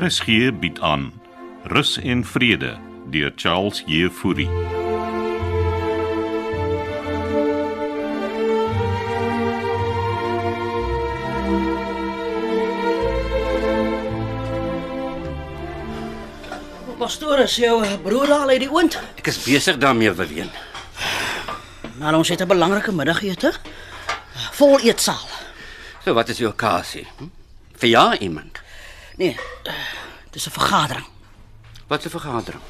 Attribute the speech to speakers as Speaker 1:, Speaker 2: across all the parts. Speaker 1: RSG bied aan Rus en Vrede deur Charles Jefouri.
Speaker 2: Pastoor, is jou eh, broer al uit die oond?
Speaker 3: Ek is besig daarmee, William.
Speaker 2: Maar ons het 'n belangrike middagete. Vol eetsaal.
Speaker 3: So wat is jou kasie? Hm? Verjaar iemand.
Speaker 2: Nee, dis 'n vergadering.
Speaker 3: Wat 'n vergadering.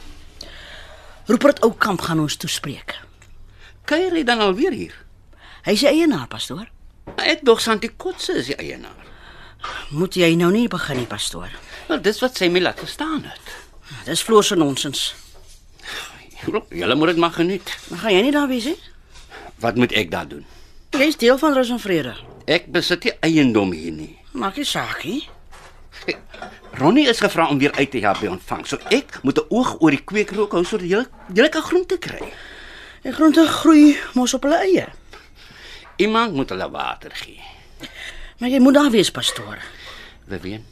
Speaker 2: Rupert Oukamp gaan ons toespreek.
Speaker 3: Kuier jy dan alweer hier?
Speaker 2: Hy's die eienaar, pastoor.
Speaker 3: Ek dog Santi Kotse is die eienaar.
Speaker 2: Moet jy nou nie begin nie, pastoor.
Speaker 3: Wel, dis wat sy my laat verstaan het.
Speaker 2: Dis floorse nonsens.
Speaker 3: Julle moet dit maar geniet.
Speaker 2: Maar gaan jy nie daar wees nie?
Speaker 3: Wat moet ek daar doen?
Speaker 2: Jy's deel van Rus en Vrede.
Speaker 3: Ek besit nie eiendom hier nie.
Speaker 2: Maak nie saak nie.
Speaker 3: Ronnie is gevra om weer uit te help by ontvang. So ek moet 'n oog oor die kweekrook hou sodat jy jy kan groente kry.
Speaker 2: Die groente groei mos op hulle eie.
Speaker 3: Iemand moet hulle water gee.
Speaker 2: Maar jy moet daar wees, pastoor.
Speaker 3: Vivian.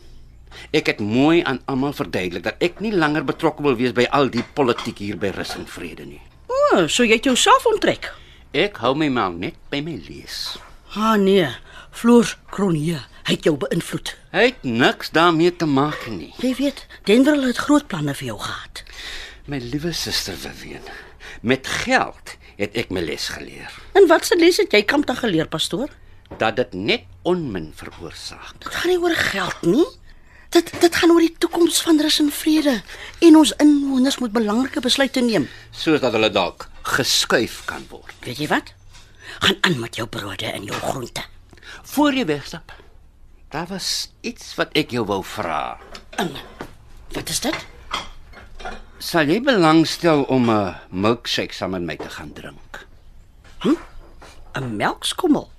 Speaker 3: Ek het mooi aan almal verduidelik dat ek nie langer betrokke wil wees by al die politiek hier by Rus en Vrede nie.
Speaker 2: O, oh, so jy het jouself onttrek.
Speaker 3: Ek hou my mond net by my lees.
Speaker 2: Ah nee, Floor Kronje, hy het jou beïnvloed.
Speaker 3: Hy het niks daarmee te maak nie.
Speaker 2: Jy weet, Denver het groot planne vir jou gehad.
Speaker 3: My liewe suster Vivian, met geld het ek my les geleer
Speaker 2: En wat se les het jy kamp te geleer, pastoor?
Speaker 3: dat dit net onmin veroorsaak.
Speaker 2: Dit gaan nie oor geld nie. Dit dit gaan oor die toekoms van rus en vrede en ons inwoners moet belangrike besluite neem.
Speaker 3: Soos dat hulle dalk geskuif kan word.
Speaker 2: Weet jy wat? Gaan aan met jou brode en jou groente.
Speaker 3: Voor jy wegstap, daar was iets wat ek jou wou vra.
Speaker 2: Wat is dit?
Speaker 3: Sal jy belangstel om 'n milkshake saam met my te gaan drink?
Speaker 2: 'n Melkskommel.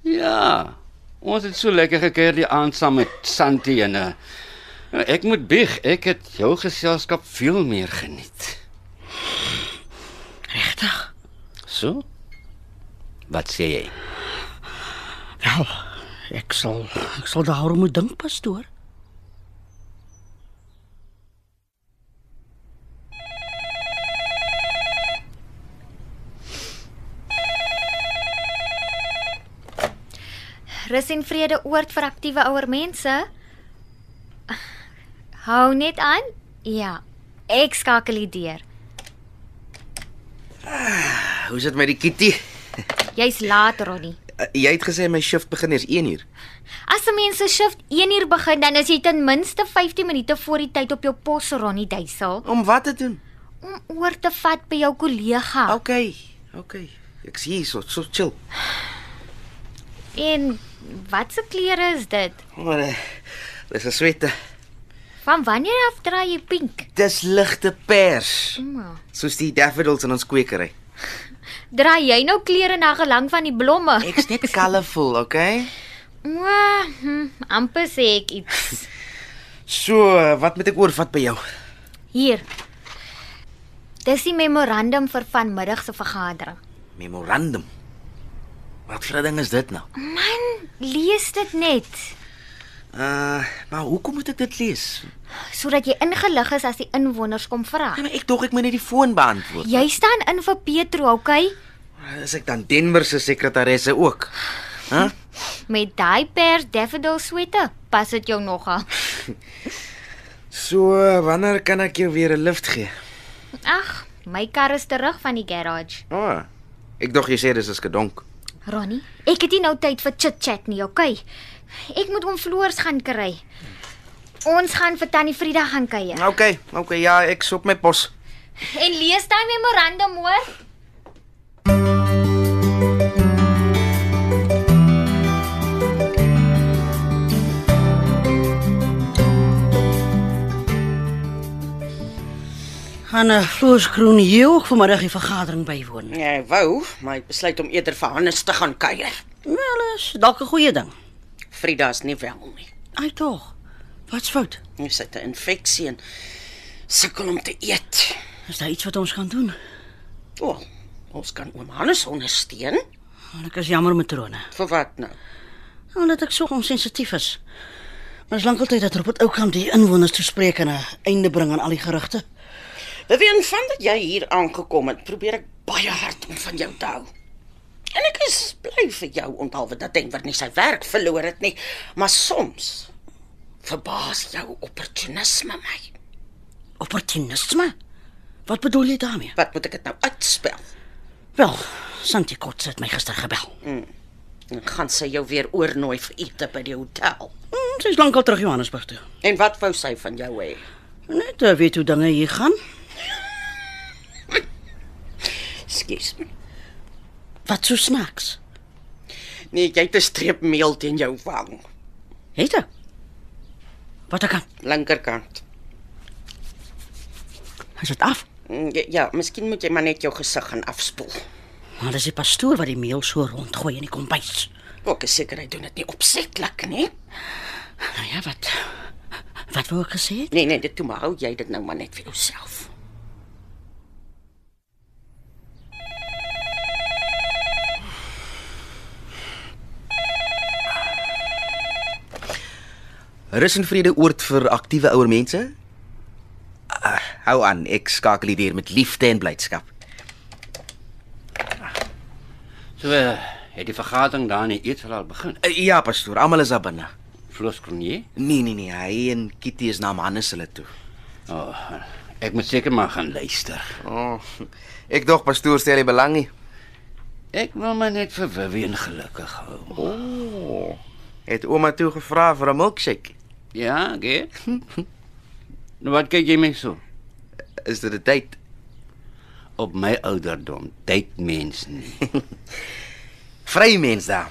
Speaker 3: Ja. Ons het so lekker gekuier die aand saam met Santi en eh, ek moet bieg, ek het jou geselskap veel meer geniet.
Speaker 2: Regtig?
Speaker 3: So? Wat sê jy?
Speaker 2: Wel, ek sal ek sal daaroor moet dink, pastoor.
Speaker 4: Rus en vrede oord vir aktiewe ouer mense. Hou net aan. Ja, ek skakel die deur.
Speaker 5: Hoe sit met die kitty?
Speaker 4: Jy's laat, Ronnie.
Speaker 5: Uh, Jy het gesê my shift begin eers 1 uur.
Speaker 4: As 'n mens se shift 1 uur begin, dan is jy ten minste 15 minute voor die tyd op jou pos, Ronnie Duisel,
Speaker 5: Om wat te doen?
Speaker 4: om oor te vat by jou kollega.
Speaker 5: OK. OK. Ek sien hier so, so chill.
Speaker 4: En wat se klere is dit?
Speaker 5: Maar eh, dis 'n swette.
Speaker 4: Van wanneer af dra jy pink?
Speaker 5: Dis ligte pers,
Speaker 4: Mm.
Speaker 5: soos die daffodils in ons kwekery.
Speaker 4: Dra jy nou klere na gelang van die blomme?
Speaker 5: Ek's net colorful, OK?
Speaker 4: O, hm, amper sê ek iets.
Speaker 5: So, eh, wat moet ek oorvat by jou?
Speaker 4: Hier. Dis die memorandum vir vanmiddag se vergadering.
Speaker 5: Memorandum. Wat vir 'n ding is dit nou?
Speaker 4: Lees dit net
Speaker 5: Uh, maar hoekom moet ek dit lees?
Speaker 4: sodat jy ingelig is as die inwoners kom vra.
Speaker 5: Nee, maar ek dog ek moet net die foon beantwoord.
Speaker 4: Jy staan in vir Petro, okay?
Speaker 5: Ja, Is ek dan Denver se sekretaresse ook? Hæ? Huh?
Speaker 4: Met daai pers daffodil sweater pas dit jou nogal.
Speaker 5: So, wanneer kan ek jou weer 'n lift gee?
Speaker 4: Ag, my kar is terug van die garage.
Speaker 5: O. Oh, ek dink jy sê dis is gedonk.
Speaker 4: Ronnie, ek het nie nou tyd vir chit-chat nie, okay? Ek moet oom Floors gaan kry. Ons gaan vir tannie Frieda gaan kuier.
Speaker 5: OK, OK, ja, ek soek my pos.
Speaker 4: En lees daai memorandum hoor.
Speaker 2: Gaan 'n Floor Kronje ook vanmiddag die vergadering bywoon.
Speaker 6: Ja, ek wou, maar ek besluit om eerder vir Hannes te gaan kuier.
Speaker 2: Wel, is dalk 'n goeie ding.
Speaker 6: Frida is nie wel nie.
Speaker 2: Ai tog. Wat's fout?
Speaker 6: Sy het 'n infeksie en sukkel om te eet.
Speaker 2: Is daar iets wat ons kan doen?
Speaker 6: O, oh, ons kan oom Hannes ondersteun.
Speaker 2: Want ek is jammer matrone.
Speaker 6: Vir wat nou?
Speaker 2: Omdat ek so onsensitief is. Maar is lankal tyd dat Robert Oukamp die inwoners toespreek en 'n einde bring aan al die gerugte.
Speaker 6: Beween van dat jy hier aangekom het, probeer ek baie hard om van jou te hou. En ek is bly vir jou onthaalwe dat Denver nie sy werk verloor het nie, maar soms verbaas jou opportunisme my.
Speaker 2: Opportunisme? Wat bedoel jy daarmee?
Speaker 6: Wat moet ek dit nou uitspel?
Speaker 2: Wel, Santi Kotse het my gister gebel.
Speaker 6: Dan gaan sy jou weer oornooi vir ete by die hotel.
Speaker 2: Hm, sy is lankal terug Johannesburg toe.
Speaker 6: En wat wou sy van jou hê?
Speaker 2: Net eh, weet hoe dinge hier gaan.
Speaker 6: Ekskuus.
Speaker 2: Wat so snaaks.
Speaker 6: Nee, jy het 'n streep meel teen jou wang,
Speaker 2: Het ek? Wat ek aan?
Speaker 6: linkerkant.
Speaker 2: Is dit af?
Speaker 6: Mm, Ja, ja, miskien moet jy maar net jou gesig gaan afspoel.
Speaker 2: Maar dis die pastoor wat die meel so rondgooi in die kombuis.
Speaker 6: Ook is seker hy doen dit nie opsetlik nie.
Speaker 2: Nou ja, wat wat wou ek gesê? het?
Speaker 6: Nee nee, dit toe maar hou jy dit nou maar net vir jouself.
Speaker 5: Rus en vrede oord vir aktiewe ouer mense. Ah, hou aan, ek skakel dit hier met liefde en blydskap.
Speaker 3: So eh, het die vergadering daar in die eetsaal begin.
Speaker 5: Eh, Ja, pastoor, almal is daar binne.
Speaker 3: Floors Kronje.
Speaker 5: Nee, nee, nee, hy en Kitty is na Hannes hulle toe.
Speaker 3: Oh, ek moet seker maar gaan luister.
Speaker 5: Oh, ek dog pastoor stel nie belang nie.
Speaker 3: Ek wil maar net vir Vivian gelukkig hou.
Speaker 5: O. Oh. Het ouma toe gevra vir 'n milkshake.
Speaker 3: Ja, gee. nou wat kyk jy my so?
Speaker 5: Is dit 'n tyd?
Speaker 3: Op my ouderdom date mens nie.
Speaker 5: Vry mens daar.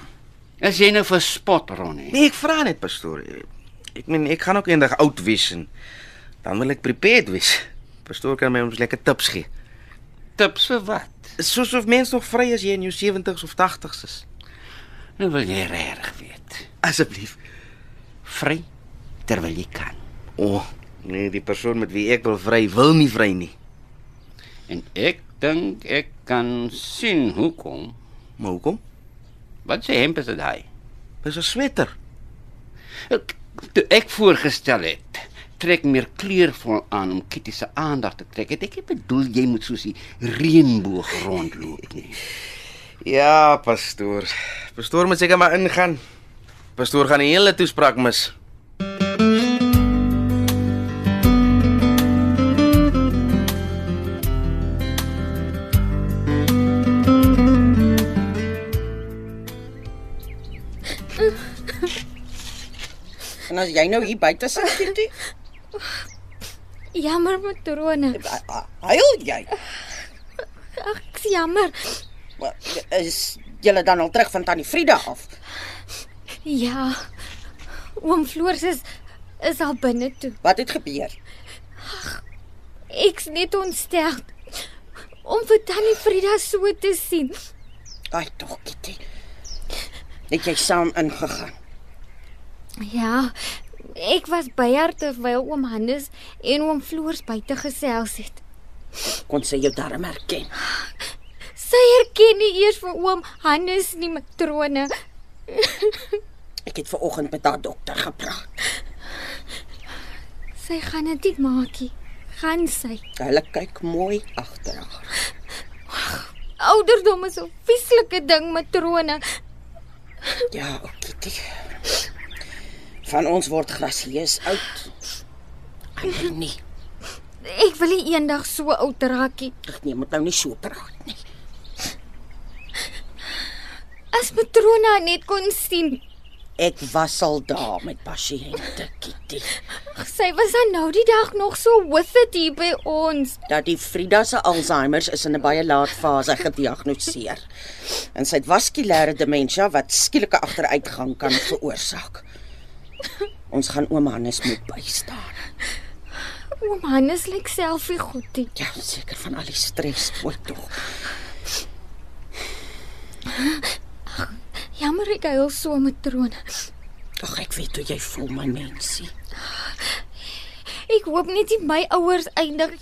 Speaker 3: As jy nou vir spot Ronnie.
Speaker 5: Nee, ek vra net pastoor. Ek meen ek gaan ook eendag oud wees en dan wil ek prepared wees. Pastoor kan my ons lekker tips gee.
Speaker 3: Tips vir wat?
Speaker 5: Soos of mens nog vry as jy in jou 70s of 80s is.
Speaker 3: Nou wil jy regtig weet.
Speaker 5: Asseblief.
Speaker 3: Vry terwyl jy kan.
Speaker 5: O, oh, nee, die persoon met wie ek wil vry wil nie vry nie.
Speaker 3: En ek dink ek kan sien hoekom.
Speaker 5: Maar hoekom?
Speaker 3: Wat se hemp is dit hy?
Speaker 5: Dis 'n sweter.
Speaker 3: Ek toe ek voorgestel het trek meer kleurvol aan om Kitty se aandag te trek. Het ek nie bedoel jy moet soos die reënboog rondloop nie.
Speaker 5: Ja, pastoor. Pastoor moet seker maar ingaan. Pastoor gaan die hele toespraak mis.
Speaker 6: En as jy nou hier buite sit, Kitty,
Speaker 4: Jammer matrone.
Speaker 6: huil jy.
Speaker 4: Ag, ek's jammer.
Speaker 6: Maar Is jy dan al terug van tannie Frieda af?
Speaker 4: Ja. Oom Floors is is al binne toe.
Speaker 6: Wat het gebeur?
Speaker 4: Ek's net ontstel om vir tannie Frida so te sien.
Speaker 6: Ai tog, Kitty. Het jy saam ingegaan?
Speaker 4: Ja. Ek was by haar terwyl oom Hannes en oom Floors buite gesels het.
Speaker 6: Kon sy jou darm herken?
Speaker 4: Sy herken nie eers vir oom Hannes nie, matrone.
Speaker 6: Ek het ver oggend met haar dokter gepraat.
Speaker 4: Sy gaan dit nie maakie. Gaan sy.
Speaker 6: Hulle kyk mooi agter haar.
Speaker 4: Ouderdom is 'n vieslike ding, matrone.
Speaker 6: Ja, o, Kitty. Van ons word grasieus oud. Ander nie.
Speaker 4: Ek wil nie eendag so oud raakie.
Speaker 6: Ag nee, moet nou nie so praat nie.
Speaker 4: As matrone net kon sien.
Speaker 6: Ek was al daar met pasiënte, Kitty.
Speaker 4: Ag, Sy was dan nou die dag nog so hoofd hier by ons.
Speaker 6: dat die Frida se Alzheimer is in 'n baie laat fase gediagnoseer. En sy het vaskulêre demensie wat skielike agteruitgang kan veroorsaak. Ons gaan oom Hannes moet bystaan.
Speaker 4: Oom Hannes lyk selfie goedie.
Speaker 6: Ja, seker van al die stres, ooit tog.
Speaker 4: Jammer ek huil so matrone.
Speaker 6: Ag ek weet hoe jy voel my mensie.
Speaker 4: Ek hoop net nie my ouers eindig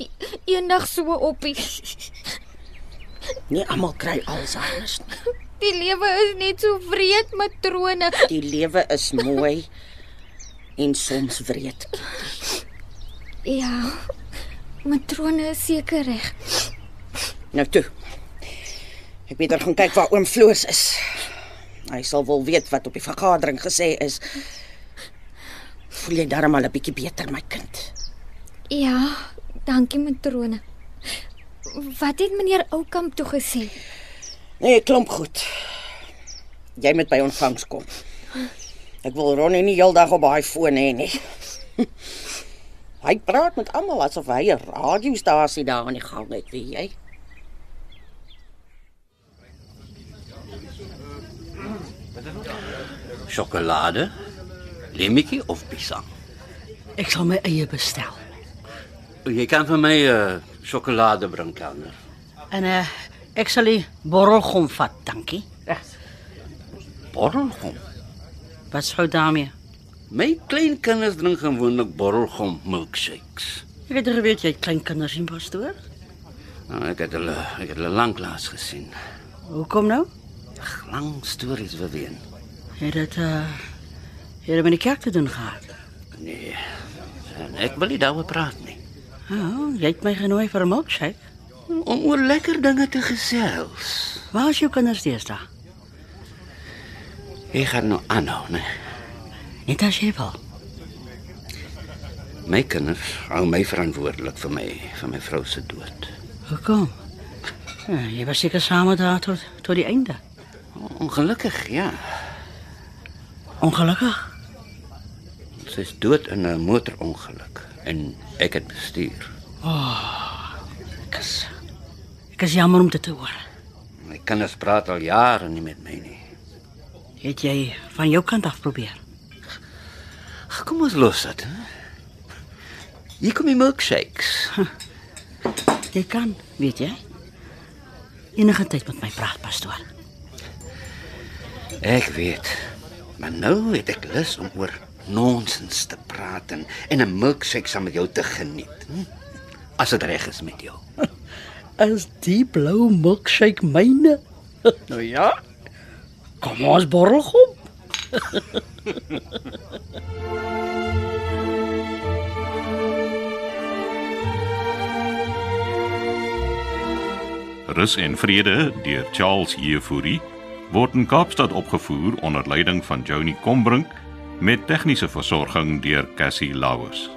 Speaker 4: eendag so op nie.
Speaker 6: Nie almal kry Alzheimer nie.
Speaker 4: Die lewe is net so vreed matrone.
Speaker 6: Die lewe is mooi en soms wreed. Kitty.
Speaker 4: Ja. Matrone is seker reg.
Speaker 6: Nou toe. Ek beter gaan kyk waar oom Floors is. Hy sal wel weet wat op die vergadering gesê is. Voel jy darm al 'n bietjie beter, my kind?
Speaker 4: Ja, dankie matrone. Wat het meneer Oukamp toe gesê?
Speaker 6: Nee, klomp goed. Jy moet by ontvangs kom. Ek wil Ronnie nie heeldag op daai foon hê nie. Hy praat met almal asof hy 'n radiostasie daar aan die gang het, weet jy?
Speaker 3: Sjokolade, lemmetjie of pisang?
Speaker 2: Ek sal my eie bestel.
Speaker 3: Jy kan vir my eh, sjokolade bring, kelner.
Speaker 2: En uh, ek sal die borrel gaan vat, dankie.
Speaker 3: Borrelgom.
Speaker 2: Wat sou daarmee?
Speaker 3: My kleinkinders drink gewoonlik borrelgom milkshakes.
Speaker 2: Ek het geweet jy het klein kinders in pastoor.
Speaker 3: Nou, ek het hulle ek het hulle lanklaas gesien.
Speaker 2: Hoekom nou?
Speaker 3: Ag, lang stories beween.
Speaker 2: Het dit uh het dit met die kerk te doen gehad?
Speaker 3: Nee. en Ek wil nie daaroor praat nie.
Speaker 2: Oh, jy het my genooi vir 'n milkshake.
Speaker 3: Om oor lekker dinge te gesels.
Speaker 2: Waar is jou kinders deesdae?
Speaker 3: Ek gaan nou aanhou, nee.
Speaker 2: Net as jy wil.
Speaker 3: My kinders hou my verantwoordelik vir my vir my vrou se dood.
Speaker 2: Hoekom? Ja, jy was seker saam met haar tot tot die einde.
Speaker 3: Ongelukkig, ja.
Speaker 2: Ongelukkig.
Speaker 3: Sy is dood in 'n motorongeluk en ek het bestuur.
Speaker 2: Ek is ek is jammer om dit te hoor.
Speaker 3: My kinders praat al jare nie met my nie.
Speaker 2: Het jy van jou kant af probeer?
Speaker 3: Ag, Kom ons los dit. hè? Hier kom die milkshakes.
Speaker 2: Jy kan, weet jy? Enige tyd met my praat, pastoor.
Speaker 3: Ek weet. Maar nou het ek lus om oor nonsens te praat en, en 'n milkshake saam met jou te geniet. Hm? As dit reg is met jou.
Speaker 2: Is die blou milkshake myne?
Speaker 5: Nou ja.
Speaker 2: Kom ons borrel hom.
Speaker 1: Rus en Vrede deur Charles Jefouri word in Kaapstad opgevoer onder leiding van Johnny Combrink met tegniese versorging deur Cassie Lauers.